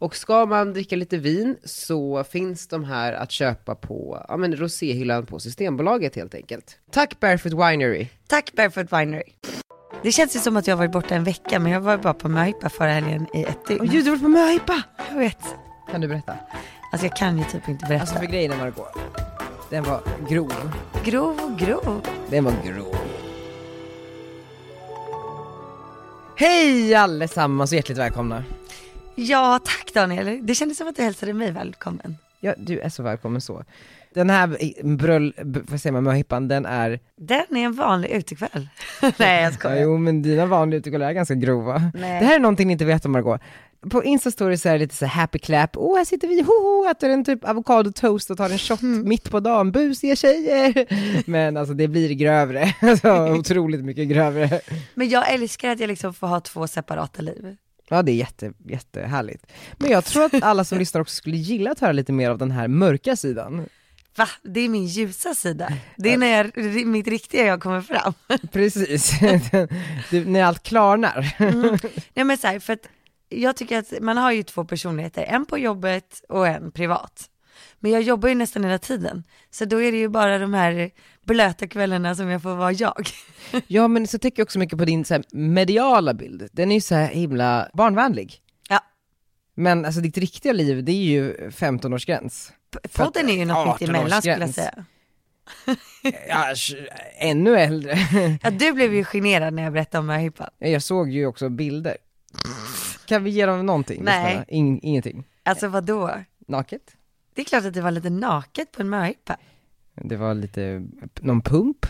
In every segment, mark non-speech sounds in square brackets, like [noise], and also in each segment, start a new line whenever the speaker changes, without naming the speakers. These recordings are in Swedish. Och ska man dricka lite vin så finns de här att köpa på ja, men roséhyllan på Systembolaget helt enkelt. Tack Barefoot Winery!
Tack Barefoot Winery. Det känns ju som att jag har varit borta en vecka, men jag var ju bara på möhippa förra helgen i ett dygn.
Och ljudord på möhippa!
jag vet.
Kan du berätta?
Alltså jag kan ju typ inte berätta.
Alltså för grejen är Margot, den var grov.
grov och grov.
Den var grov. Hej allesammans och hjärtligt välkomna!
Ja, tack Daniel. Det kändes som att du hälsade mig välkommen.
Ja, du är så välkommen så. Den här eh, bröll, b- vad säger man, möhippan, den är,
Den är en vanlig utekväll. [laughs] Nej,
ja,
jag skojar.
jo men dina vanliga utegolv är ganska grova.
Nej.
Det här är någonting ni inte vet om Margot. På Insta-stories är det lite så här happy clap, åh här sitter vi, hoho, äter en typ avokadotoast och tar en shot mitt på dagen, busiga tjejer. Men alltså det blir grövre, [laughs] alltså, otroligt mycket grövre.
Men jag älskar att jag liksom får ha två separata liv.
Ja det är jätte, jättehärligt. Men jag tror att alla som lyssnar också skulle gilla att höra lite mer av den här mörka sidan.
Va? Det är min ljusa sida. Det är när jag, ri- mitt riktiga jag kommer fram.
Precis, [laughs] du, när allt klarnar.
Nej men så här, för att jag tycker att man har ju två personligheter, en på jobbet och en privat. Men jag jobbar ju nästan hela tiden, så då är det ju bara de här blöta kvällarna som jag får vara jag.
Ja men så tänker jag också mycket på din så här, mediala bild, den är ju så här himla barnvänlig.
Ja.
Men alltså ditt riktiga liv, det är ju 15-årsgräns.
P- Podden är ju något
18-årsgräns.
mitt emellan skulle jag säga.
Ja, sh- ännu äldre. [laughs]
Ja, du blev ju generad när jag berättade om möhippan.
Jag såg ju också bilder. Kan vi ge dem någonting?
Nej.
lyssnarna? In, ingenting.
Alltså vadå?
Naket?
Det är klart att det var lite naket på en möhippa.
Det var lite, någon pump?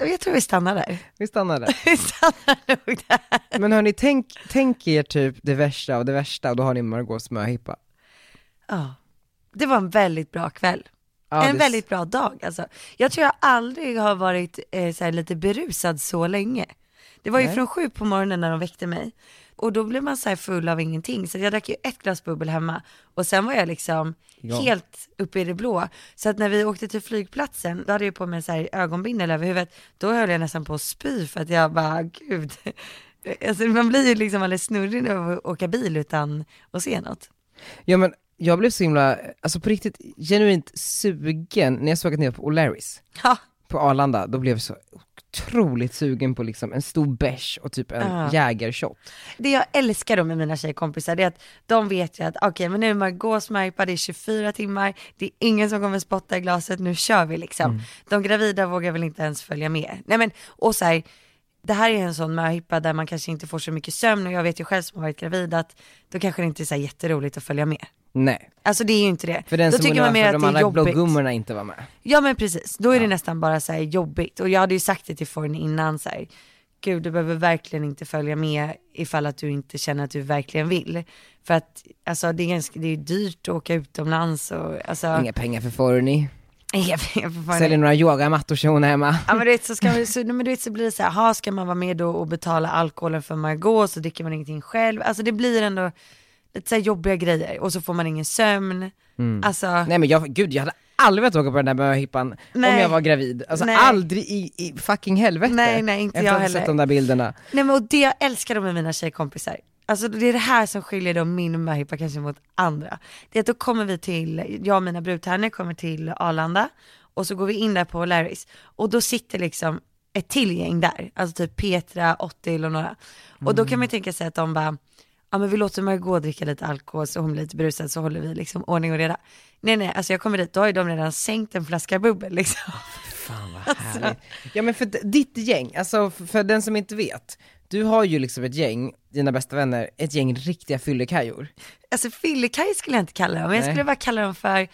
Och Jag tror vi stannar där. [laughs]
Vi stannar där.
Vi stannar nog där.
Men hörni, tänk, tänk er typ det värsta av det värsta och då har ni Margaux möhippa.
Ja, det var en väldigt bra kväll.
Ja,
en
det-
väldigt bra dag alltså. Jag tror jag aldrig har varit eh, så här, lite berusad så länge. Det var ju
Nej.
från sju på morgonen när de väckte mig. Och då blev man så här full av ingenting. Så jag drack ju ett glas bubbel hemma. Och sen var jag liksom
Ja.
helt uppe i det blå. Så att när vi åkte till flygplatsen, då hade jag ju på mig en så här ögonbindel över huvudet. Då höll jag nästan på att spy för att jag bara, gud. [laughs] Alltså, man blir ju liksom alldeles snurrig när att åka bil utan att se något.
Ja men jag blev så himla, alltså på riktigt genuint sugen när jag såg att ni var på O'Larrys
Ja,
på Arlanda, då blev jag så otroligt sugen på liksom en stor bärs och typ en
Ja.
jägershot.
Det jag älskar då med mina tjejkompisar det är att de vet ju att okej men nu är Margaux märkbar, det är 24 timmar, det är ingen som kommer spotta i glaset, nu kör vi liksom.
Mm.
De gravida vågar väl inte ens följa med. Nej men, och så här, det här är en sån möhippa där man kanske inte får så mycket sömn och jag vet ju själv som har varit gravid att då kanske det inte är så här jätteroligt att följa med.
Nej,
Alltså det är ju inte det.
för den
då
som
tycker man
undrar
mer
varför de
att det är
andra
jobbigt.
bloggummorna inte var med.
Ja men precis, då är det nästan bara så här jobbigt. Och jag hade ju sagt det till Forn innan så här, gud du behöver verkligen inte följa med ifall att du inte känner att du verkligen vill. För att alltså det är, ganska, det är dyrt att åka utomlands och alltså, [laughs]
Inga pengar för Forni,
inga pengar för Forn.
säljer några yogamattor till hon hemma.
Ja men du vet så, ska man, så, nej, men du vet, så blir det så här, ha ska man vara med då och betala alkoholen för Margot så dricker man ingenting själv. Alltså det blir ändå lite så här jobbiga grejer och så får man ingen sömn. Alltså,
Nej men jag, gud jag hade aldrig velat åka på den där möhippan om
Nej.
jag var gravid. Alltså
Nej.
aldrig i, i fucking helvete.
Nej, nej, inte
Efter
jag
att ha sett
heller.
de där bilderna.
Nej men och det jag älskar med mina tjejkompisar, alltså det är det här som skiljer då min möhippa kanske mot andra. Det är att då kommer vi till, jag och mina brudtärnor kommer till Arlanda och så går vi in där på Larrys och då sitter liksom ett till gäng där, alltså typ Petra, Ottil och några. Och då kan man ju tänka sig att de bara, ja men vi låter Margot dricka lite alkohol så hon blir lite berusad så håller vi liksom ordning och reda. Nej nej, alltså jag kommer dit, då har ju de redan sänkt en flaska bubbel liksom.
Fan vad härligt. Alltså. Ja men för d- ditt gäng, alltså för, för den som inte vet, du har ju liksom ett gäng, dina bästa vänner, ett gäng riktiga fyllekajor.
Alltså fyllekaj skulle jag inte kalla dem, jag
Nej.
skulle bara kalla dem för,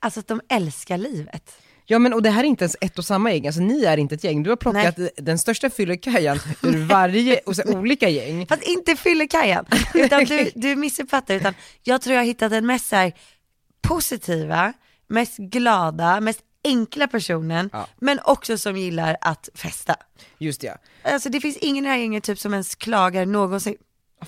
alltså att de älskar livet.
Ja men och det här är inte ens ett och samma gäng, alltså ni är inte ett gäng. Du har plockat den största fyllekajan ur [laughs] varje, och så olika gäng.
Fast inte fyllekajan,
[laughs]
utan du, du missuppfattar. Utan jag tror jag har hittat den mest så här, positiva, mest glada, mest enkla personen,
Ja.
men också som gillar att festa.
Just det, ja.
Alltså det finns ingen i det här gänget typ som ens klagar någonsin.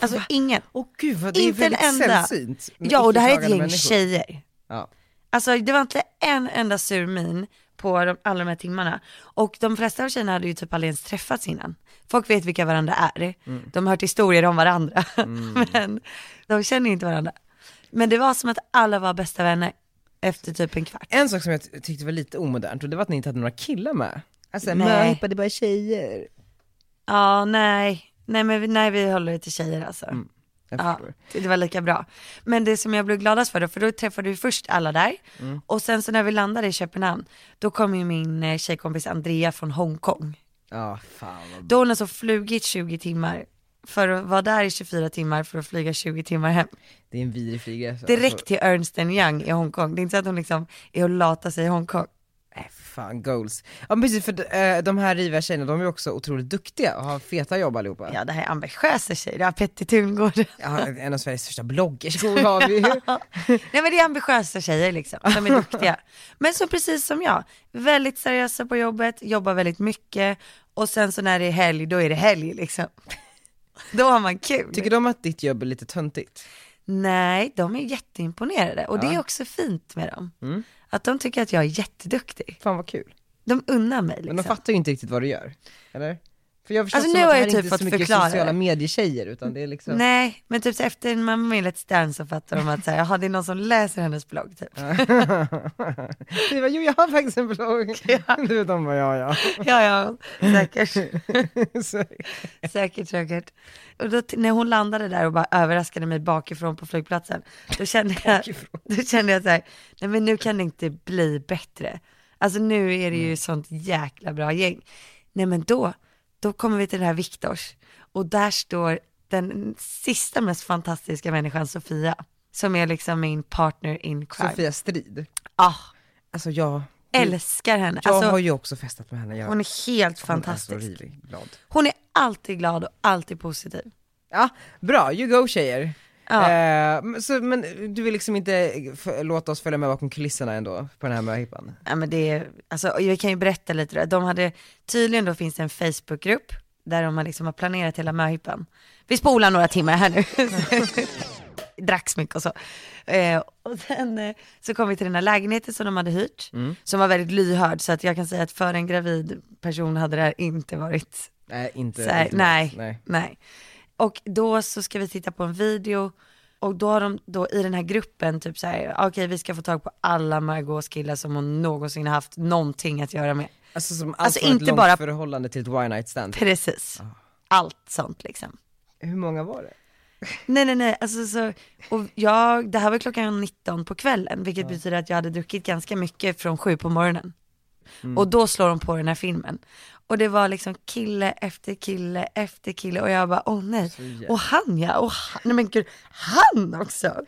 Alltså ingen.
Åh gud vad det är
Inte en
väldigt
enda.
sällsynt. med
Ja och det här är ett
icke-klagande
gäng
människor.
tjejer.
Ja.
Alltså det var inte en enda sur min på de, alla de här timmarna. Och de flesta av tjejerna hade ju typ aldrig ens träffats innan. Folk vet vilka varandra är. De har hört historier om varandra. [laughs] Men de känner ju inte varandra. Men det var som att alla var bästa vänner efter typ en kvart.
En sak som jag ty- tyckte var lite omodernt, och det var att ni inte hade några killar med. Alltså,
Nej.
möhippa, det är bara tjejer.
Ja, nej. Nej, men vi, nej, vi håller det till tjejer alltså.
Jag
Ja,
förstår.
det var lika bra. Men det som jag blev gladast för då, för då träffade vi först alla där. Och sen så när vi landade i Köpenhamn, då kom ju min eh, tjejkompis Andrea från Hongkong.
Ja, fan vad
Då har hon alltså flugit 20 timmar för att vara där i 24 timmar för att flyga 20 timmar hem.
Det är en vidrig alltså. flygresa.
Direkt till Ernst Young i Hongkong. Det är inte så att hon liksom är och latar sig i Hongkong.
Nej, Äh, fan goals. Ja men precis, för d- eh, de här riviga tjejerna de är också otroligt duktiga och har feta jobb allihopa. Ja.
Ja, det här är ambitiösa tjejer, det här Petter Tungård. [laughs]
en av Sveriges största bloggerskor har vi ju.
Nej men det är ambitiösa tjejer liksom, de är duktiga. Men som precis som jag, väldigt seriösa på jobbet, jobbar väldigt mycket och sen så när det är helg, då är det helg liksom. [laughs] Då har man kul.
Tycker de att ditt jobb är lite töntigt?
Nej, de är jätteimponerade och det är också fint med dem. Att de tycker att jag är jätteduktig.
Fan vad kul.
De unnar mig liksom.
Men de fattar ju inte riktigt vad du gör, eller? För jag har förstått
Alltså,
som
nu
att det
har
här
jag
är
typ
inte så
fått
mycket
förklara
sociala
det.
medietjejer utan det är liksom, [laughs]
Nej, men typ så efter man med Let's Dance så fattar de att så här, jaha, det är någon som läser hennes blogg typ.
du bara, jo jag har faktiskt en
[laughs]
blogg. [laughs] Du vet de bara, ja ja.
Ja, ja, säkert.
Så-
Säkert, säkert. Och då, t- när hon landade där och bara överraskade mig bakifrån på flygplatsen, då kände jag, [laughs] då kände jag så här, nej men nu kan det inte bli bättre. Alltså nu är det ju sånt jäkla bra gäng. Nej men då, då kommer vi till den här Viktors och där står den sista mest fantastiska människan, Sofia, som är liksom min partner in crime.
Sofia Strid.
Ah,
Alltså jag,
älskar henne.
jag
Alltså,
har ju också festat med henne. Jag,
hon är helt
Hon är så
fantastisk.
rivig, glad.
Hon är alltid glad och alltid positiv.
Ja, bra, you go tjejer.
Ja.
Eh, men så, men du vill liksom inte f- låta oss följa med bakom kulisserna ändå på den här möhippan?
Ja men det är, alltså och jag kan ju berätta lite då. De hade, tydligen då finns det en Facebookgrupp där de har liksom har planerat hela möhippan. Vi spolar några timmar här nu. [laughs] Dracks mycket och så. Eh, och sen eh, så kom vi till den här lägenheten som de hade hyrt, som var väldigt lyhörd. Så att jag kan säga att för en gravid person hade det här inte varit
Nej, inte.
så här,
inte
nej,
alls,
nej. Och då så ska vi titta på en video och då har de då i den här gruppen typ så här, okej vi ska få tag på alla Margots killar som hon någonsin haft någonting att göra med.
Alltså som allt
Alltså,
från
inte
ett långt
bara-
förhållande till ett one night stand.
Precis. Allt sånt liksom.
Hur många var det?
Nej nej nej, alltså så, och jag, det här var klockan 19 på kvällen vilket betyder att jag hade druckit ganska mycket från sju på morgonen. Och då slår de på den här filmen. Och det var liksom kille efter kille efter kille och jag bara åh nej.
jävla-
Och han ja, och han, nej men gud, han också.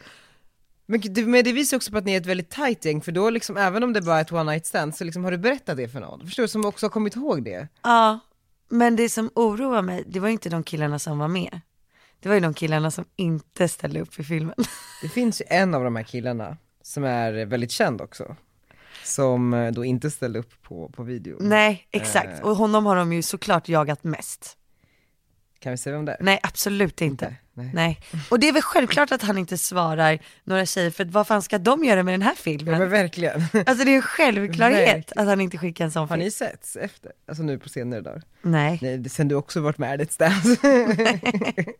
Men, gud, det- men det visar också på att ni är ett väldigt tight gäng, för då liksom, även om det bara är ett one night stand, så liksom, har du berättat det för någon? Förstår du, som också har kommit ihåg det?
Ja, men det som oroar mig, det var ju inte de killarna som var med. Det var ju de killarna som inte ställde upp i filmen. [laughs]
Det finns ju en av de här killarna, som är väldigt känd också, som eh, då inte ställde upp på, på video.
Nej, exakt. Och honom har de ju såklart jagat mest.
Kan vi säga vem det är?
Nej, absolut inte.
Nej.
Nej. Och det är väl självklart att han inte svarar några tjejer, för att vad fan ska de göra med den här
Ja
filmen?
men verkligen.
Alltså det är en självklarhet
Verkligen.
att han inte skickar en sån
Har
film.
ni setts efter? Alltså nu på senare dagar?
Nej.
Nej, det- sen du också varit med i Let's Dance. [laughs]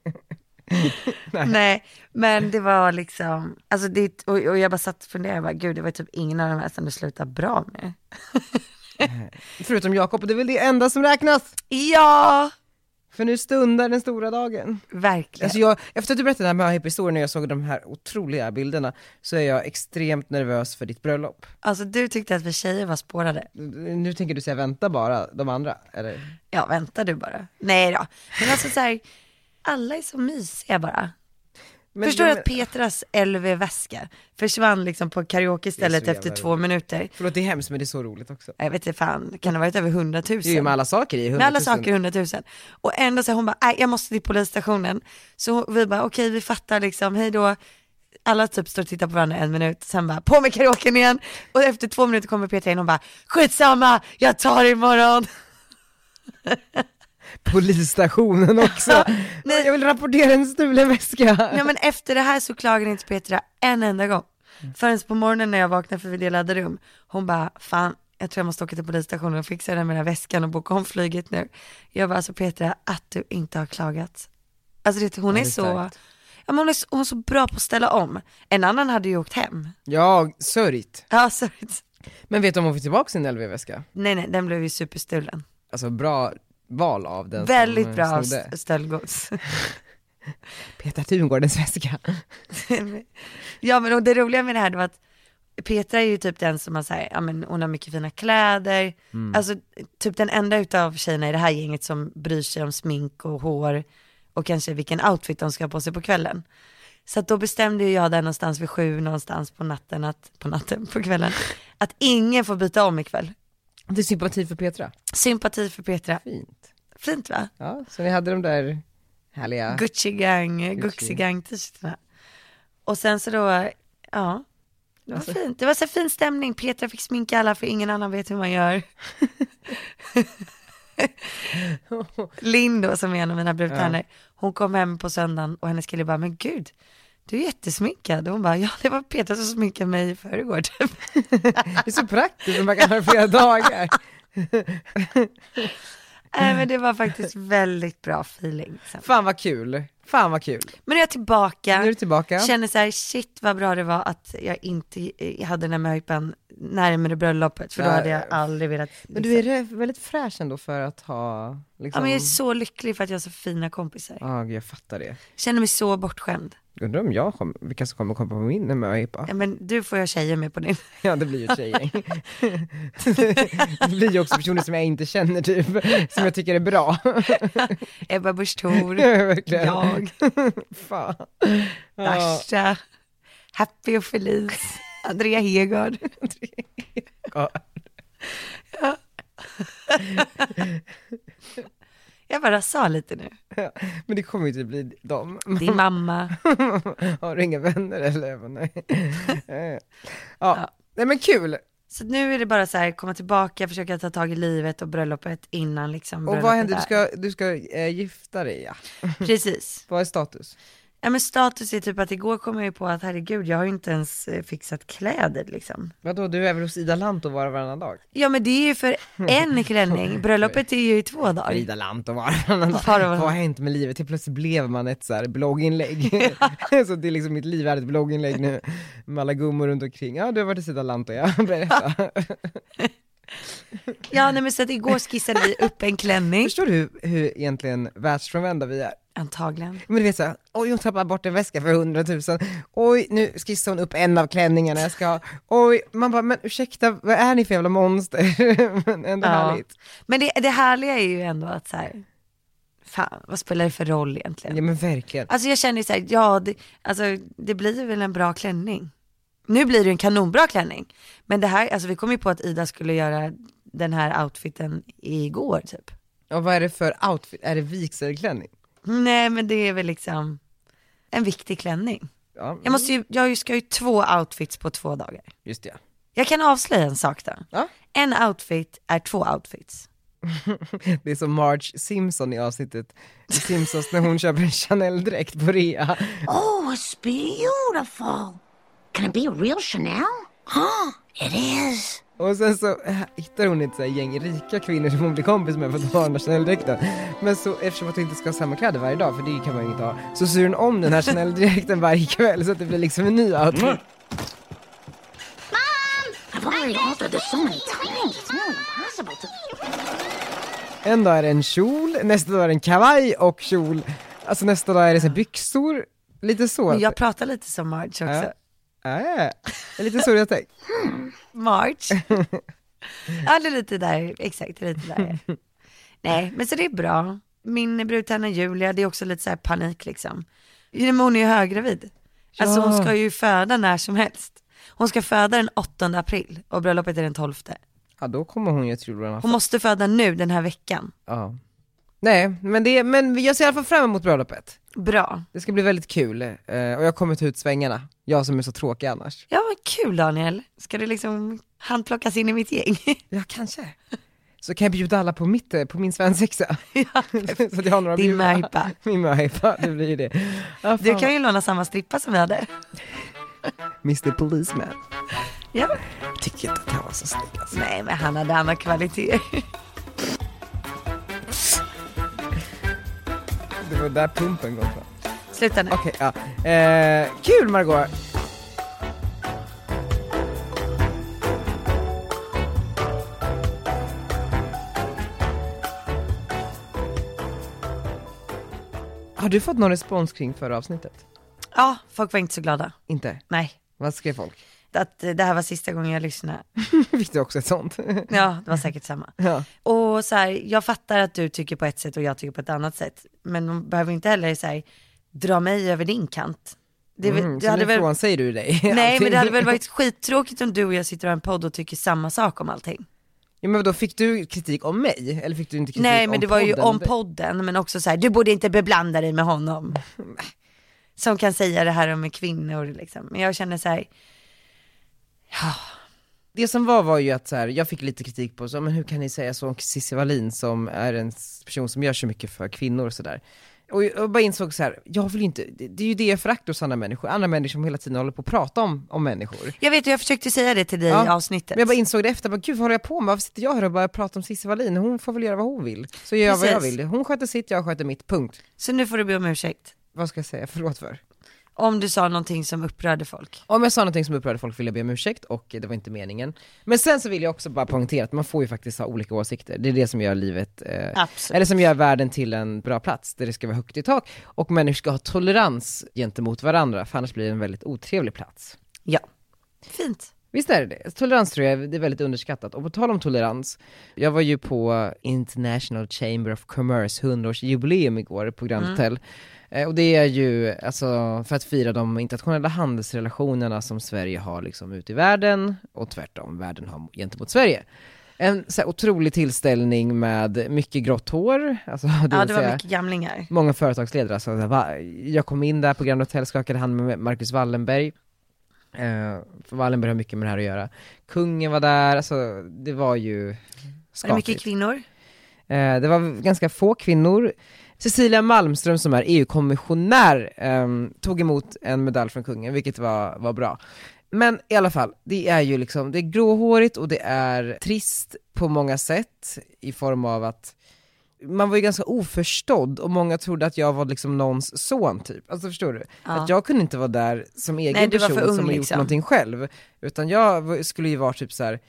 Nej, men det var liksom, alltså det, och, och jag bara satt och funderade, jag bara, gud det var typ ingen av de här som det slutade bra med.
Förutom Jakob, och det är väl det enda som räknas.
Ja,
För nu stundar den stora dagen.
verkligen.
Alltså jag, efter att du berättade den här möhippa-historien och jag såg de här otroliga bilderna, så är jag extremt nervös för ditt bröllop.
Alltså du tyckte att vi tjejer var spårade.
Nu tänker du säga vänta bara, de andra, eller?
Ja, vänta du bara. Nej då. Men alltså så här, alla är så mysiga bara.
Men
Förstår du
de-
att Petras LV-väska försvann liksom på karaokestället
Det är så
efter
jävla
två minuter?
Förlåt, det är hemskt men det är så roligt också.
Jag vet inte fan, kan det ha varit över 100 000?
Det är ju med alla saker i,
Med
100
alla
000.
saker 100 000. Och ändå så här, hon bara, nej jag måste till polisstationen. Så vi bara, okej vi fattar liksom, hej då. Alla typ står och tittar på varandra en minut, sen bara, på med karaoken igen. Och efter två minuter kommer Petra in och bara, skitsamma, jag tar det imorgon.
[laughs] Polisstationen också.
Nej.
Jag vill rapportera en stulen väska.
Ja men efter det här så klagade inte Petra en enda gång.
Mm.
Förrän på morgonen när jag vaknade för vi delade rum, hon bara, fan jag tror jag måste åka till polisstationen och fixa den med den här väskan och boka om flyget nu. Jag bara, alltså Petra, att du inte har klagat. Alltså det, hon
Ja,
är
det är
så,
starkt.
ja, men hon, är så, hon är så bra på att ställa om. En annan hade ju åkt hem.
Ja, sörjt.
Ja, så,
Men vet du om hon fick tillbaka sin LV-väska?
nej nej, den blev ju superstulen.
Alltså bra val av den som
Väldigt bra av
snodde.
st- stöldgods.
Peter Tungårdens väska.
ja men och det roliga med det här det var att Petra är ju typ den som har så här, ja men hon har mycket fina kläder, alltså typ den enda utav tjejerna i det här gänget som bryr sig om smink och hår och kanske vilken outfit de ska ha på sig på kvällen. Så att då bestämde ju jag där någonstans vid sju någonstans på natten, att, på natten, på kvällen, att ingen får byta om ikväll.
[laughs] Det är sympati för Petra.
Sympati för Petra,
Fint.
fint va?
Ja, så ni hade de där härliga...
Gucci gang, Gucci gang t-shirtarna. Och sen så då, ja. Det
Alltså.
var fint, det var så fin stämning. Petra fick sminka alla för ingen annan vet hur man
[laughs]
gör. Linn då som är en av mina brudtärnor, hon kom hem på söndagen och hennes kille bara, men gud, du är jättesminkad. Och hon bara, ja det var Petra som sminkade mig
[laughs]
i förrgår typ.
Det är så praktiskt, man kan ha det flera dagar.
Nej men det var faktiskt väldigt bra feeling. Sen.
[laughs] Fan vad kul. Fan vad kul.
Men nu är jag tillbaka.
Nu är du tillbaka.
Känner så här, shit vad bra det var att jag inte eh, hade den här möhippan närmare bröllopet, för då
Nej.
hade jag aldrig velat. liksom-
Men du är re- väldigt fräsch ändå för att ha
Ja
liksom...
men jag är så lycklig för att jag har så fina kompisar.
Ja, gud, jag fattar det.
Känner mig så bortskämd.
Undrar om jag kommer, vilka som kommer komma på min möhippa?
Ja, men du får jag tjejer med på din.
[laughs]
[laughs]
Ja det blir ju ett tjejgäng. [laughs] det blir ju också personer som jag inte känner typ, som jag tycker är [laughs] bra.
Ebba Busch
[laughs]
Thor,
Verkligen.
jag,
Fan. Ja.
Dasha, Happy
[laughs]
och Felice, Andrea Hegaard. [laughs] Jag bara sa lite nu.
Men det kommer ju inte bli dem. [laughs]
Din mamma.
Har du inga vänner eller? Jag bara, [laughs] Nej. Eh. ja. nej men kul.
Så nu är det bara så här, komma tillbaka, försöka ta tag i livet och bröllopet innan liksom
Och vad
bröllopet
händer, du
är.
ska, du ska eh, gifta dig ja.
[laughs] Precis.
Vad är status?
Ja men status är typ att igår kom jag ju på att herregud jag har ju inte ens eh, fixat kläder liksom.
Vadå, du är väl hos Ida Lant och var varannan dag?
Ja men det är ju för
[laughs]
en klänning, bröllopet är ju i två dagar.
Ida Lant och varannan dag.
Var och varannan.
Vad har hänt med livet? Helt plötsligt blev man ett så här blogginlägg. [laughs] så det är liksom, mitt liv är ett blogginlägg nu. Med alla gummor runt omkring. Ja, du har varit hos Ida Lant och jag. [laughs] Berätta.
Ja nej men så att igår skissade vi upp en klänning, [laughs]
Förstår du hur, hur egentligen världsfrånvända vi är?
antagligen.
Men du vet såhär, oj hon tappar bort en väska för hundratusen, oj nu skissar hon upp en av klänningarna jag ska ha, oj, man bara men ursäkta vad är ni för jävla monster? [laughs] men ändå
Ja.
härligt.
Men det, det härliga är ju ändå att så här, fan vad spelar det för roll egentligen?
Ja men verkligen.
Alltså jag känner ju så här, ja det, alltså, det blir väl en bra klänning. Nu blir det en kanonbra klänning. Men det här, alltså vi kom ju på att Ida skulle göra den här outfiten igår typ.
Och vad är det för outfit, är det vigselklänning?
Nej men det är väl liksom en viktig klänning.
Ja,
Jag, måste ju, jag ska ju två outfits på två dagar.
just det.
Jag kan avslöja en sak då.
Ja.
En outfit är två outfits.
Det är som Marge Simpson i avsnittet i Simpsons när hon köper en Chanel-dräkt på rea.
Oh, it's beautiful. Can it be a real Chanel? Huh, it is.
Och sen så äh, hittar hon ett så här gäng rika kvinnor som hon blir kompis med för att de har den där Chanel-dräkten. Men så eftersom att hon inte ska ha samma kläder varje dag, för det kan man ju inte ha, så syr hon om den här Chanel-dräkten varje kväll så att det blir liksom en ny outfit.
I've already altered this so many times, it's nearly impossible to.
En dag är det en kjol, nästa dag är det en kavaj och kjol. Alltså nästa dag är det så här byxor, lite så.
Men jag pratar lite som Marge också.
Ja. Äh, lite så jag tänkt.
[laughs] Marge. ja det är lite där, exakt det är lite där. [laughs] ja. Nej men så det är bra. Min brudtärna Julia, det är också lite så här panik liksom. Nej, men hon är ju höggravid. Alltså
Ja.
hon ska ju föda när som helst. Hon ska föda den 8 april och bröllopet är den 12.
Ja, då kommer hon ju till julbröllopet.
Hon måste föda nu den här veckan.
Ja. Nej, men, det, men jag ser i alla fall fram emot bröllopet.
Bra.
Det ska bli väldigt kul. eh, och jag kommer ta ut svängarna. Jag som är så tråkig annars.
Ja vad kul Daniel. Ska du liksom handplockas in i mitt gäng?
Ja, kanske. Så kan jag bjuda alla på, mitt, eh, på min svensexa.
[laughs] ja.
[laughs] så att jag har några att
Din
bjuda.
möhippa.
Min möhippa, det blir ju det. Ja,
Du
fan.
kan ju låna samma strippa som vi hade.
Mr Policeman.
Ja.
Jag tycker inte att han var så snygg alltså.
Nej men han hade andra kvaliteter.
Det var där pumpen går ifrån.
Sluta nu.
Okej, ja. Eh, kul Margot Har du fått någon respons kring förra avsnittet?
Ja, folk var inte så glada.
Inte?
Nej.
Vad skrev folk? [laughs]
Att eh, det här var sista gången jag lyssnade.
Fick du också ett sånt?
Ja, det var säkert samma.
[laughs] ja.
Och så här, jag fattar att du tycker på ett sätt och jag tycker på ett annat sätt. Men man behöver inte heller så här, dra mig över din kant. Det, är väl-
Mm,
det
så
hade
nu
väl,
frånsäger du dig
nej men
allting.
det hade väl varit skittråkigt om du och jag sitter och har en podd och tycker samma sak om allting.
Ja, men då fick du kritik om mig? Eller fick du inte kritik
nej
om
men det var ju
podden?
om podden men också så här, du borde inte beblanda dig med honom. Som kan säga det här om kvinnor liksom. Men jag känner så här,
Det som var var ju att så här, jag fick lite kritik på så, men hur kan ni säga så om Cissi Wallin som är en s- person som gör så mycket för kvinnor och sådär. Och jag bara insåg så här, jag vill inte, det, det är ju det jag föraktar hos andra människor, andra människor som hela tiden håller på att prata om, om människor.
jag vet jag försökte säga det till dig
Ja,
i avsnittet.
Men jag bara insåg det efter, bara, gud vad håller jag på med? Varför sitter jag här och bara pratar om Cissi Wallin? Hon får väl göra vad hon vill. Så gör jag vad jag
Precis.
vill. Hon sköter sitt, jag sköter mitt, punkt.
Så nu får du be om ursäkt.
Vad ska jag säga? Förlåt för.
Om du sa någonting som upprörde folk.
Om jag sa någonting som upprörde folk vill jag be om ursäkt och eh, det var inte meningen. Men sen så vill jag också bara poängtera att man får ju faktiskt ha olika åsikter. Det är det som gör livet, eh,
Absolut.
eller som gör världen till en bra plats där det ska vara högt i tak. Och människor ska ha tolerans gentemot varandra, för annars blir det en väldigt otrevlig plats.
Ja. Fint.
Visst är det det? Tolerans tror jag det är väldigt underskattat. Och på tal om tolerans, jag var ju på International Chamber of Commerce 100-årsjubileum igår på Grand
Mm.
Hotel. Eh, Och det är ju alltså, för att fira de internationella handelsrelationerna som Sverige har liksom ute i världen och tvärtom, världen har gentemot Sverige. En så här otrolig tillställning med mycket grått hår, alltså, [laughs] det
Ja
vill
det var
säga,
mycket gamlingar.
många företagsledare. Alltså, så här, va- jag kom in där på Grand Hotel, skakade hand med Marcus Wallenberg. Eh, för Wallenberg har mycket med det här att göra. Kungen var där, alltså det var ju
Var det
skapligt.
mycket kvinnor?
Eh, det var ganska få kvinnor. Cecilia Malmström som är EU-kommissionär ehm, tog emot en medalj från kungen, vilket var, var bra. Men i alla fall, det är ju liksom, det är gråhårigt och det är trist på många sätt i form av att man var ju ganska oförstådd och många trodde att jag var liksom någons son typ. Alltså förstår du? Att jag kunde inte vara där som egen
Nej, du var
person
för ung,
som har gjort
liksom.
någonting själv. Utan jag var- skulle ju vara typ så här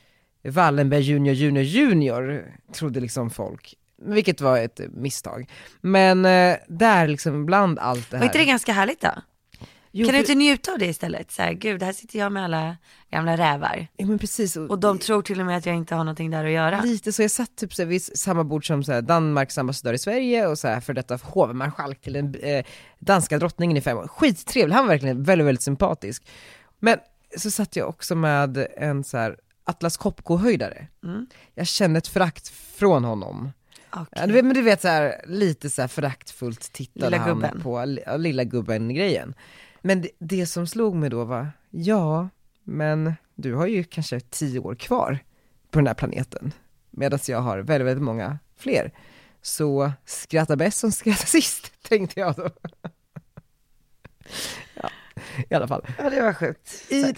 Wallenberg junior, junior, junior, trodde liksom folk. Vilket var ett eh, misstag. Men eh, där liksom bland allt det här.
Var inte det ganska härligt då?
jo,
kan du
för-
inte njuta av det istället? Så här, gud här sitter jag med alla gamla rävar.
Ja men precis. Och,
Och de tror till och med att jag inte har någonting där att göra.
Lite så, jag satt typ så här vid samma bord som så här Danmarks ambassadör i Sverige och så här för detta hovmarskalk till den eh, danska drottningen i fem år. Skittrevlig, han var verkligen väldigt, väldigt sympatisk. Men så satt jag också med en så här Atlas Copco-höjdare.
Mm.
Jag kände ett förakt från honom.
Okej.
Ja, du vet, men du vet så här, lite så här föraktfullt tittade
Lilla
han
gubben.
på li- ja, lilla gubben grejen. Men det, det som slog mig då var, ja, men du har ju kanske tio år kvar på den här planeten, medan jag har väldigt, väldigt många fler. Så skratta [laughs] bäst som skrattar sist, tänkte jag då. ja, i alla fall.
Ja det var sjukt.
I,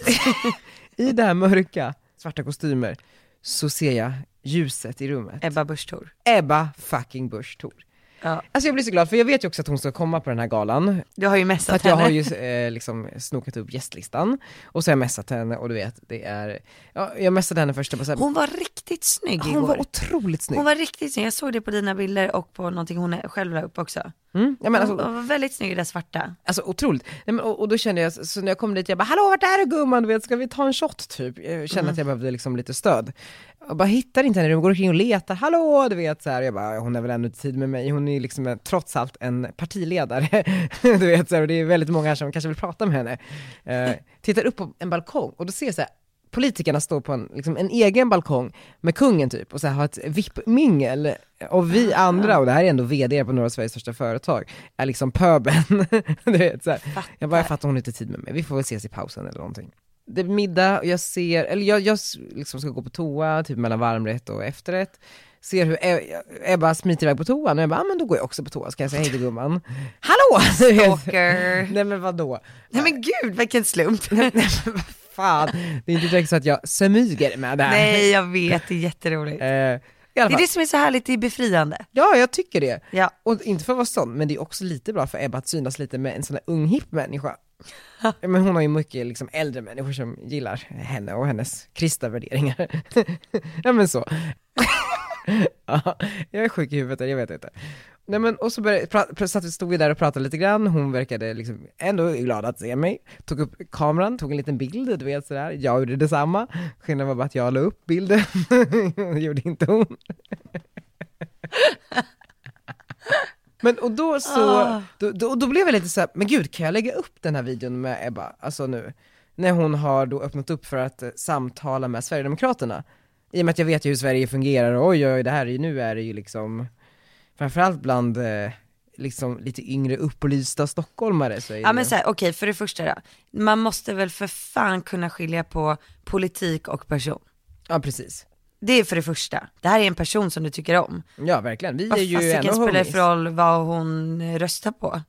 [laughs] I det här mörka, svarta kostymer, så ser jag ljuset i rummet.
Ebba Busch Thor.
Ebba fucking Busch Thor.
Ja.
Alltså jag blir så glad, för jag vet ju också att hon ska komma på den här galan.
Du har ju
Så
messat
att jag
henne.
har ju eh, liksom snokat upp gästlistan, och så har jag messat henne och du vet, det är, ja, jag messade henne först och bara så här,
Hon var riktigt riktigt snygg
Hon
igår.
var otroligt snygg.
Hon var riktigt snygg, jag såg det på dina bilder och på någonting hon själv la upp också.
Mm. Ja, men
Hon
alltså,
var väldigt snygg i det svarta.
alltså otroligt. Nej, men, och, och då kände jag, så när jag kom dit, jag bara “Hallå vart är du gumman?” du vet, “Ska vi ta en shot?” typ. Jag kände att jag behövde liksom lite stöd. Och bara hittar inte henne, hon går omkring och letar, “Hallå?” du vet så här. Jag bara “Hon är väl ännu inte tid med mig, hon är liksom eh, trots allt en partiledare”. [laughs] du vet så här, och det är väldigt många här som kanske vill prata med henne. Eh, tittar upp på en balkong och då ser jag så här, politikerna står på en, liksom, en egen balkong med kungen typ och så här, har ett VIP-mingel. Och
Ah.
vi andra, och det här är ändå vd på några av Sveriges största företag, är liksom pöben. [laughs] du vet, så här. Jag bara, jag fattar hon har inte tid med mig, vi får väl ses i pausen eller någonting. Det är middag och jag ser, eller jag, jag s- liksom ska gå på toa, typ mellan varmrätt och efterrätt. Ser hur E- Ebba smiter iväg på toan och jag bara, ah, men då går jag också på toa, ska jag säga hej till
[laughs]
gumman. Hallå! Du vet.
Stalker.
Nej men [laughs] vadå?
Nej men gud vilken slump. [laughs]
Fan, det är inte direkt så att jag smyger med det här.
Nej jag vet, det är jätteroligt.
Eh, i alla
Det är
fall.
det som är så härligt, det är befriande.
Ja, jag tycker det.
Ja.
Och inte för att vara sån, men det är också lite bra för Ebba att synas lite med en sån där ung hipp människa. Men hon har ju mycket liksom äldre människor som gillar henne och hennes kristna värderingar. [laughs] ja men så. [laughs] ja, jag är sjuk i huvudet, jag vet inte. Nej men och så började, pra, pra, satt vi, stod vi där och pratade lite grann, hon verkade liksom ändå glad att se mig. Tog upp kameran, tog en liten bild, du vet sådär. Jag gjorde detsamma. Skillnaden var bara att jag la upp bilden, [laughs] det gjorde inte hon. Men och då så,
Ah.
då, då, då blev jag lite såhär, men gud kan jag lägga upp den här videon med Ebba, alltså nu? När hon har då öppnat upp för att eh, samtala med Sverigedemokraterna. I och med att jag vet ju hur Sverige fungerar och oj oj, det här är ju, nu är det ju liksom, framförallt bland eh, liksom lite yngre upplysta stockholmare så är
Ja
det-
men så här, okej för det första då, man måste väl för fan kunna skilja på politik och person.
ja precis.
Det är för det första. Det här är en person som du tycker om.
Ja verkligen, vi är
Vad
ju ändå
fasiken spelar det
homies.
för roll vad hon eh, röstar på?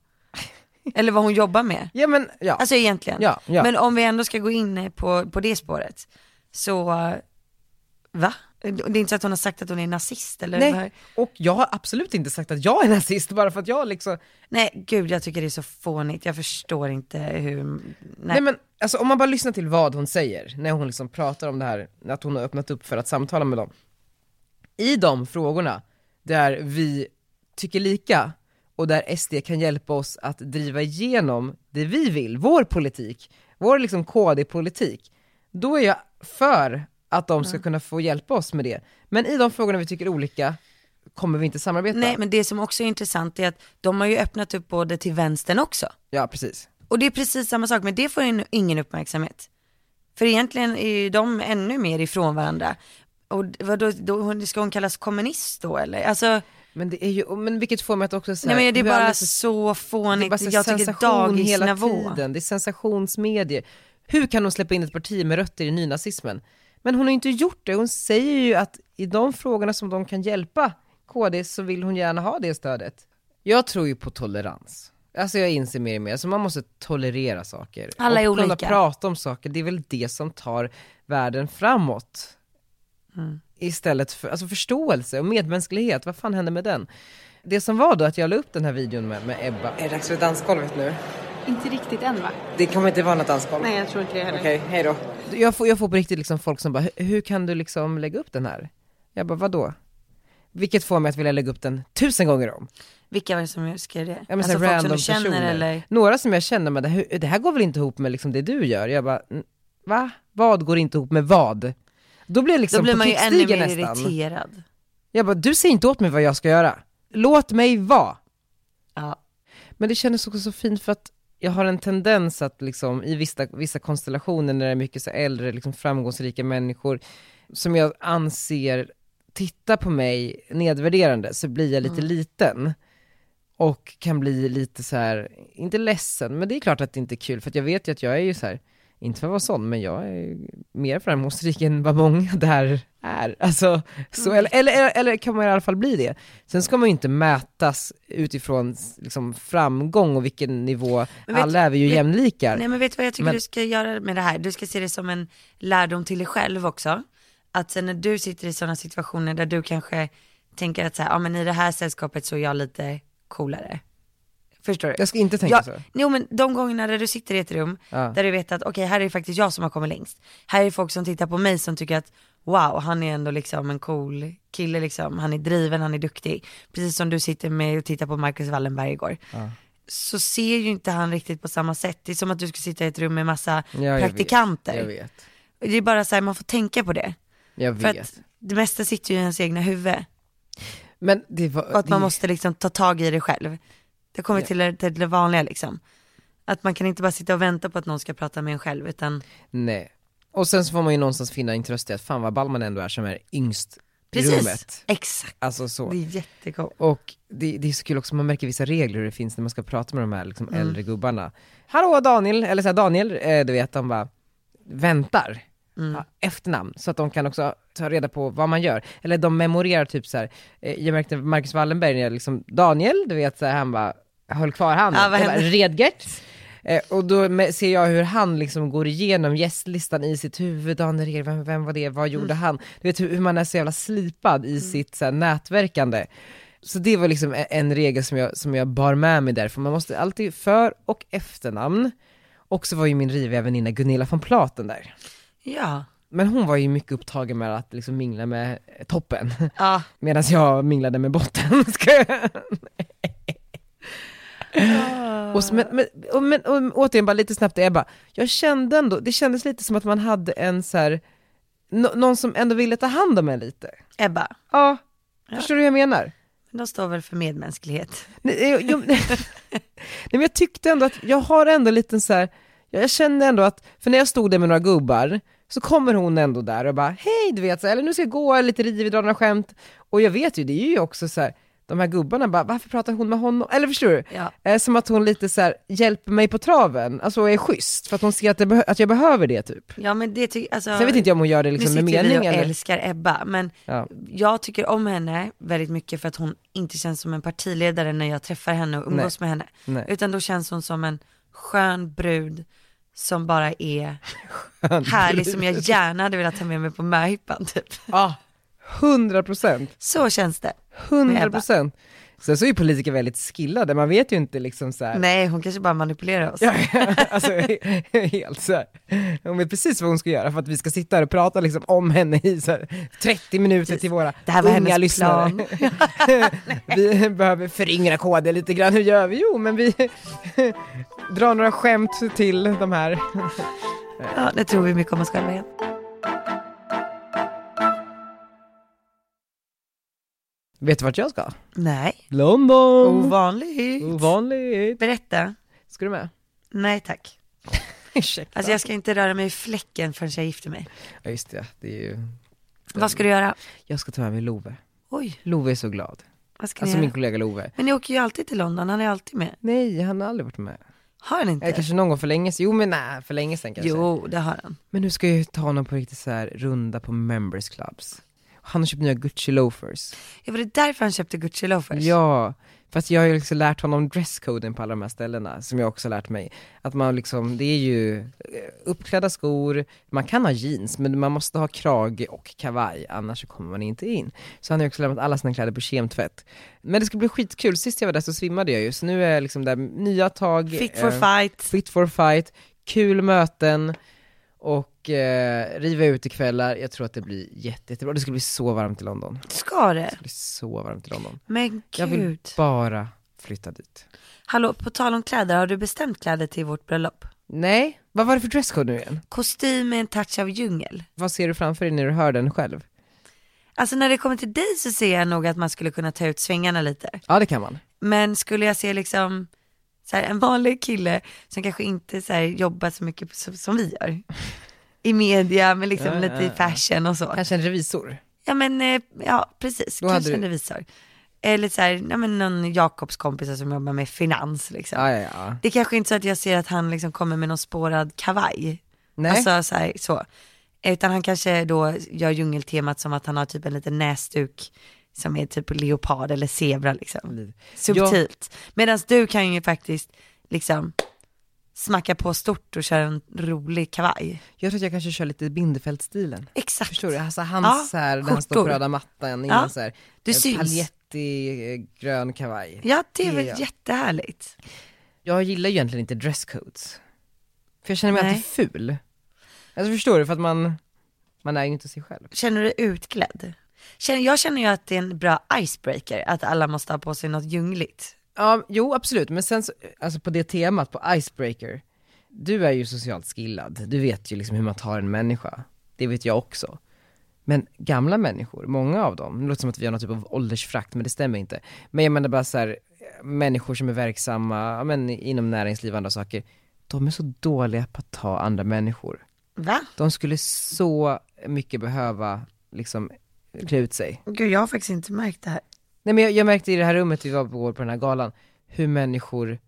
Eller vad hon jobbar med?
Ja men, ja.
Alltså egentligen.
Ja, ja.
Men om vi ändå ska gå in på, på det spåret, så eh, va? Det är inte så att hon har sagt att hon är nazist eller? vad?
Nej, och jag har absolut inte sagt att jag är [laughs] nazist bara för att jag liksom,
Nej, gud jag tycker det är så fånigt. Jag förstår inte hur, nej.
Nej men alltså om man bara lyssnar till vad hon säger när hon liksom pratar om det här, att hon har öppnat upp för att samtala med dem. I de frågorna där vi tycker lika och där SD kan hjälpa oss att driva igenom det vi vill, vår politik, vår liksom KD-politik, då är jag för att de
Mm.
ska kunna få hjälpa oss med det. Men i de frågorna vi tycker olika kommer vi inte samarbeta.
nej men det som också är intressant är att de har ju öppnat upp både till vänstern också.
Ja precis.
Och det är precis samma sak, men det får ju ingen uppmärksamhet. För egentligen är ju de ännu mer ifrån varandra. Och vadå, då, hon- ska hon kallas kommunist då eller? Alltså,
Men det är ju, men vilket får mig att också säga
nej men det är bara
alldeles-
så
Det är bara
fånigt,
så
jag tycker
sensation hela
dagisnivå.
tiden, det är sensationsmedier. Hur kan hon släppa in ett parti med rötter i nynazismen? Men hon har ju inte gjort det, hon säger ju att i de frågorna som de kan hjälpa KD så vill hon gärna ha det stödet. Jag tror ju på tolerans. Alltså jag inser mer och mer, alltså man måste tolerera saker.
Alla är
och kunna
olika.
prata om saker, det är väl det som tar världen framåt.
Mm.
Istället för, alltså förståelse och medmänsklighet, vad fan hände med den? Det som var då att jag la upp den här videon med, med Ebba. Är det dags för dansgolvet nu?
Inte riktigt än va?
Det kommer inte vara något dansgolv.
Nej jag tror inte det heller.
Okej, hej då. Jag får, jag får på riktigt liksom folk som bara, "Hur- hur kan du liksom lägga upp den här? Jag bara, vadå? Vilket får mig att vilja lägga upp den tusen gånger om.
Vilka var det som skrev det?
Ja, men
alltså
så här
folk som
random
du känner
personer.
eller?
Några som jag känner, men det, hur- det här går väl inte ihop med liksom det du gör? Jag bara, "N- va? Vad går inte ihop med vad? Då blir jag liksom
Då blir
på
man ju ännu
krigsstigen
mer
nästan.
irriterad.
Jag bara, du säger inte åt mig vad jag ska göra. Låt mig vara.
Ja.
Men det kändes också så fint för att jag har en tendens att liksom, i vissa, vissa konstellationer när det är mycket så äldre, liksom framgångsrika människor som jag anser tittar på mig nedvärderande så blir jag lite
Mm.
liten och kan bli lite så här, inte ledsen, men det är klart att det inte är kul för att jag vet ju att jag är ju så här, inte för att vara sån, men jag är ju mer framgångsrik än vad många [laughs] där är. Alltså,
Mm.
så, eller, eller, eller, eller kan man i alla fall bli det. Sen ska man ju inte mätas utifrån s- liksom, framgång och vilken nivå,
Men vet-
alla är vi ju
vet-
jämlikar.
Nej men vet du vad jag tycker
Men-
du ska göra med det här? Du ska se det som en lärdom till dig själv också. Att sen när du sitter i sådana situationer där du kanske tänker att så här, ja men i det här sällskapet så är jag lite coolare. Förstår du?
Jag ska inte tänka
Ja,
så.
Jo men de gångerna där du sitter i ett rum,
Ja.
där du vet att okej här är det faktiskt jag som har kommit längst. Här är folk som tittar på mig som tycker att wow, han är ändå liksom en cool kille liksom. Han är driven, han är duktig. Precis som du sitter med och tittar på Marcus Wallenberg igår. Så ser ju inte han riktigt på samma sätt. Det är som att du ska sitta i ett rum med massa
Ja, jag vet.
praktikanter.
Jag vet.
Det är bara så här, man får tänka på det.
Jag
För
vet.
att det mesta sitter ju i ens egna huvud.
Men det var...
Och att man
det-
måste liksom ta tag i det själv. Det kommer
Ja.
till, det- till det vanliga liksom. Att man kan inte bara sitta och vänta på att någon ska prata med en själv utan
Nej. Och sen så får man ju någonstans finna en tröst i att fan vad ball man ändå är som är yngst i rummet.
Exakt,
Alltså så.
det är jättekul.
Och det, det är så kul också, man märker vissa regler hur det finns när man ska prata med de här liksom,
Mm.
äldre gubbarna. Hallå Daniel, eller så här, Daniel, eh, du vet, de bara väntar.
Mm.
Ja, efternamn, så att de kan också ta reda på vad man gör. Eller de memorerar typ så här. Eh, jag märkte Marcus Wallenberg, när jag liksom, Daniel, du vet, så här, han bara höll kvar handen.
Ja, vad
Jag bara,
hände?
Redgert. Eh, och då me- ser jag hur han liksom går igenom gästlistan i sitt huvud, Daniel, Redgert, vem, vem var det, vad gjorde
Mm.
han? Du vet hur, hur man är så jävla slipad i sitt så här, nätverkande. Så det var liksom e- en regel som jag, som jag bar med mig därför. Man måste alltid för och efternamn. Och så var ju min riviga väninna Gunilla von Platen där.
Ja.
Men hon var ju mycket upptagen med att liksom mingla med eh, toppen, [laughs]
ja.
medan jag minglade med botten. [laughs] Ska jag- och, s- men, men, och, men och, återigen, bara lite snabbt, Ebba. Jag kände ändå, det kändes lite som att man hade en så här, nå- någon som ändå ville ta hand om en lite.
Ebba,
Ja, förstår du hur jag menar?
de står väl för medmänsklighet.
Nej, jag,
[laughs]
jag, nej, men jag tyckte ändå att jag har ändå en liten så här, jag jag kände ändå att, för när jag stod där med några gubbar, så kommer hon ändå där och bara hej du vet, så här, eller nu ska jag gå, eller lite rivig, dra några skämt. Och jag vet ju, det är ju också så här, de här gubbarna bara, varför pratar hon med honom? Eller förstår du?
Ja.
Eh, som att hon lite så här, hjälper mig på traven, alltså och är schysst, för att hon ser att, det behö- att jag behöver det typ.
Ja men det tycker, alltså.
Sen vet inte jag om hon gör det
Nu
liksom
sitter
med
vi
mening
och
eller...
älskar Ebba, men
Ja.
jag tycker om henne väldigt mycket för att hon inte känns som en partiledare när jag träffar henne och umgås med henne.
Nej.
Utan då känns hon som en skön brud som bara
[laughs]
är härlig som jag gärna hade velat ta med mig på möhippan typ.
Ja, 100 procent.
Så känns det. Med
100
Ebba.
procent. Sen så är ju politiker väldigt skillade, man vet ju inte liksom så här.
Nej, hon kanske bara manipulerar oss.
Ja, [laughs] alltså helt så här. Hon vet precis vad hon ska göra för att vi ska sitta här och prata liksom om henne i så här 30 minuter till våra
Det här var
unga
hennes
lyssnare.
plan.
[laughs] vi behöver föryngra KD lite grann, hur gör vi? Jo, men vi [laughs] drar några skämt till de här.
Ja, nu tror vi mycket om oss själva igen.
Vet du vart jag ska?
Nej,
London!
ovanligt.
Ovanligt.
Berätta.
Ska du med?
Nej tack.
Ursäkta.
Alltså jag ska inte röra mig i fläcken förrän jag gifter mig.
Ja, just det, det är ju...
Vad ska du göra?
Jag ska ta med mig Love.
Oj,
Love är så glad.
vad ska
Alltså
ni
min
göra?
kollega Love.
Men ni åker ju alltid till London, han är alltid med.
Nej, han har aldrig varit med.
Har han inte?
Eller kanske någon gång för länge sedan. Jo men nej, för länge sedan kanske.
Jo, det har han.
Men nu ska jag ju ta honom på riktigt så här runda på members clubs. Han har köpt nya Gucci loafers.
Ja, var det därför han köpte Gucci loafers?
Ja, fast jag har ju liksom lärt honom dresscoden på alla de här ställena, som jag också lärt mig. Att man liksom, det är ju eh, uppklädda skor, man kan ha jeans, men man måste ha krage och kavaj, annars så kommer man inte in. Så han har ju också lämnat alla sina kläder på kemtvätt. Men det ska bli skitkul, sist jag var där så svimmade jag ju, så nu är jag liksom där, nya tag.
Fit for
eh,
fight.
fit for fight, kul möten och eh, riva ut ikvällar. Jag tror att det blir jätte, jättebra. Det ska bli så varmt i London. Det
Ska det?
blir så varmt i London.
Men
Jag vill
gud.
bara flytta dit.
Hallå, på tal om kläder, har du bestämt kläder till vårt bröllop?
Nej, vad var det för dresscode nu igen?
Kostym med en touch av djungel.
Vad ser du framför dig när du hör den själv?
Alltså när det kommer till dig så ser jag nog att man skulle kunna ta ut svängarna lite.
Ja det kan man.
Men skulle jag se liksom så här, en vanlig kille som kanske inte så här, jobbar så mycket på- som, som vi gör. I media, men liksom
Ja,
lite
ja,
i
ja.
fashion och så.
Kanske en revisor.
Ja men, eh, ja precis,
Då hade
kanske
du-
en revisor. Eller så här, ja, men någon Jakobs kompisar som jobbar med finans liksom.
Ja, ja, ja.
Det är kanske inte så att jag ser att han liksom kommer med någon spårad kavaj.
Nej,
Alltså så, här, så. Utan han kanske då gör djungeltemat som att han har typ en liten näsduk som är typ leopard eller zebra liksom. Subtilt. Medan du kan ju faktiskt liksom smacka på stort och köra en rolig kavaj.
jag tror att jag kanske kör lite Bindefeld-stilen.
Exakt.
Förstår du? Alltså hans
Ja,
så här, när han står på
skjortor.
röda mattan,
Ja.
innan så här,
Du
eh,
syns.
flätig eh, grön kavaj.
Ja, det är väl
Ja.
jättehärligt.
Jag gillar ju egentligen inte dresscodes. För jag känner mig
Nej.
alltid ful. Alltså förstår du, för att man, man är ju inte sig själv.
Känner du dig utklädd? Känner, jag känner ju att det är en bra icebreaker, att alla måste ha på sig något ljungligt.
Ja, jo absolut, men sen så, alltså på det temat, på icebreaker, du är ju socialt skillad, du vet ju liksom hur man tar en människa, det vet jag också. Men gamla människor, många av dem, det låter som att vi har någon typ av åldersfrakt, men det stämmer inte. Men jag menar bara så här, människor som är verksamma, ja, men inom näringsliv och andra saker, de är så dåliga på att ta andra människor.
Va?
De skulle så mycket behöva liksom klä ut sig.
Gud, jag har faktiskt inte märkt det här.
Nej men jag, jag märkte i det här rummet vi var på, på den här galan, hur människor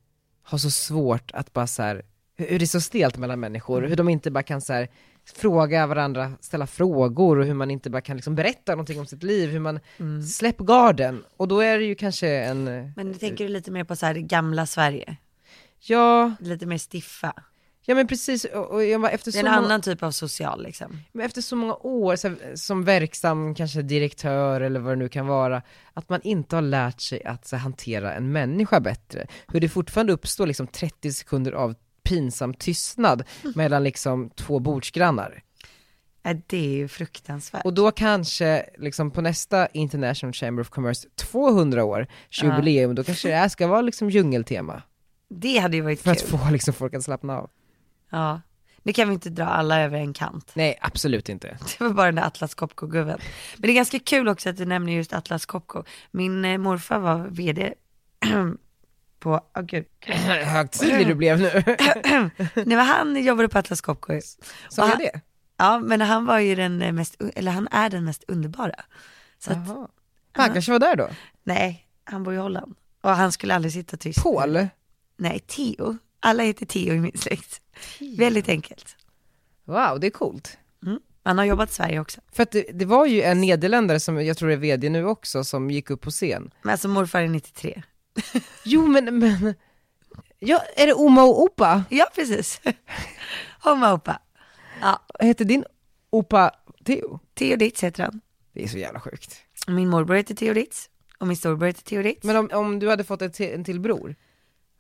har så svårt att bara så här, hur, hur det är så stelt mellan människor,
Mm.
hur de inte bara kan så här, fråga varandra, ställa frågor och hur man inte bara kan liksom berätta någonting om sitt liv, hur man,
Mm.
släpp garden! Och då är det ju kanske en, eh,
Men du tänker lite mer på så här gamla Sverige,
ja,
lite mer stiffa.
ja men precis, och, och jag bara, efter
Det
så
är en
många-
annan typ av social liksom.
Men efter så många år så här, som verksam, kanske direktör eller vad det nu kan vara, att man inte har lärt sig att så, här, hantera en människa bättre. Hur det fortfarande uppstår liksom 30 sekunder av pinsam tystnad
Mm.
mellan liksom två bordsgrannar.
Äh, Det är ju fruktansvärt.
Och då kanske liksom på nästa International Chamber of Commerce 200 år, jubileum, då kanske det här ska vara liksom djungeltema.
Det hade ju varit
För
kul.
att få liksom folk att slappna av.
Ja. Nu kan vi inte dra alla över en kant. [laughs]
Nej, absolut inte.
Det var bara den där Atlas Copco-gubben. Men det är ganska kul också att du nämner just Atlas Copco. Min eh, morfar var vd [clears throat] på, åh [laughs] gud.
Högtidlig du blev nu.
Nej men han jobbade på Atlas Copco.
Sa jag
Och han-
det?
Ja men han var ju den eh, mest, eller han är den mest underbara. Så att,
Jaha. Han kanske var där då?
nej, han bor i Holland. Och han skulle aldrig sitta tyst.
Paul?
Nej, Theo. Alla heter Theo i min släkt. Väldigt enkelt.
Wow, det är coolt.
Mm. Han har jobbat i Sverige också.
För att det, det var ju en nederländare som, jag tror är vd nu också, som gick upp på scen.
Men alltså morfar är 93.
Jo men, men, ja, är det Oma och Opa?
Ja,
[laughs]
precis. Homma Opa. Ja,
Heter din Opa Theo?
Theo Ditz heter han.
Det är så jävla sjukt.
Min morbror heter Theo Ditz. Och min storbror heter Theo Ditz.
Men om, om du hade fått ett, te- en till bror,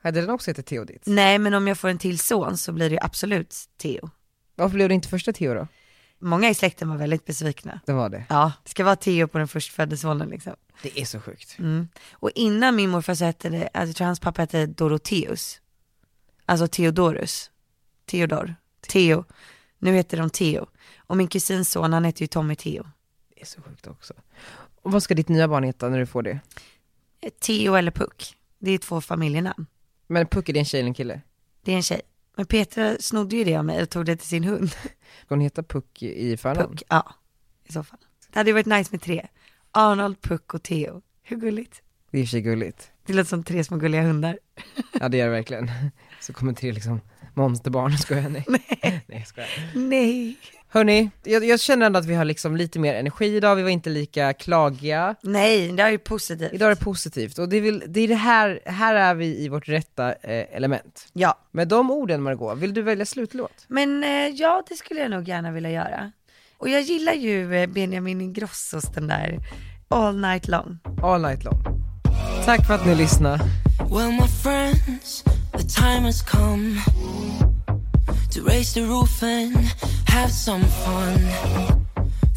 hade den också hetat Theo ditt?
Nej, men om jag får en till son så blir det ju absolut Theo.
Varför blev det inte första Theo då?
Många i släkten var väldigt besvikna.
Det var det.
Ja, det ska vara Theo på den förstfödde sonen liksom.
Det är så sjukt.
Mm. Och innan min morfar så hette det, alltså, jag tror hans pappa hette Doroteus. Alltså Theodorus. Theodor. Theo. Nu heter de Theo. Och min kusins son, han heter ju Tommy Theo.
Det är så sjukt också. Och vad ska ditt nya barn heta när du får det?
Theo eller Puck. Det är två familjenamn.
Men Puck, är det en tjej eller en kille?
Det är en tjej. Men Petra snodde ju det av mig och tog det till sin hund.
Ska hon heta Puck i förnamn?
Puck, ja. I så fall. Det hade ju varit nice med tre. Arnold, Puck och Theo. Hur gulligt?
Det är i och för sig gulligt.
Det låter som tre små gulliga hundar.
[laughs] Ja det gör det verkligen. Så kommer tre liksom monsterbarn, skojar jag, nej. [laughs] Nej, jag skojar.
Nej.
Hörni, jag, jag känner ändå att vi har liksom lite mer energi idag, vi var inte lika klagiga.
Nej, det här är ju positivt.
Idag är det positivt och det är, väl, det, är det här, här är vi i vårt rätta eh, element.
Ja.
Med de orden Margot, vill du välja slutlåt?
Men eh, ja, det skulle jag nog gärna vilja göra. Och jag gillar ju eh, Benjamin Ingrossos den där All Night Long.
All night long. Tack för att ni lyssnade.
Well, my friends, the time has come to raise the roof and have some fun.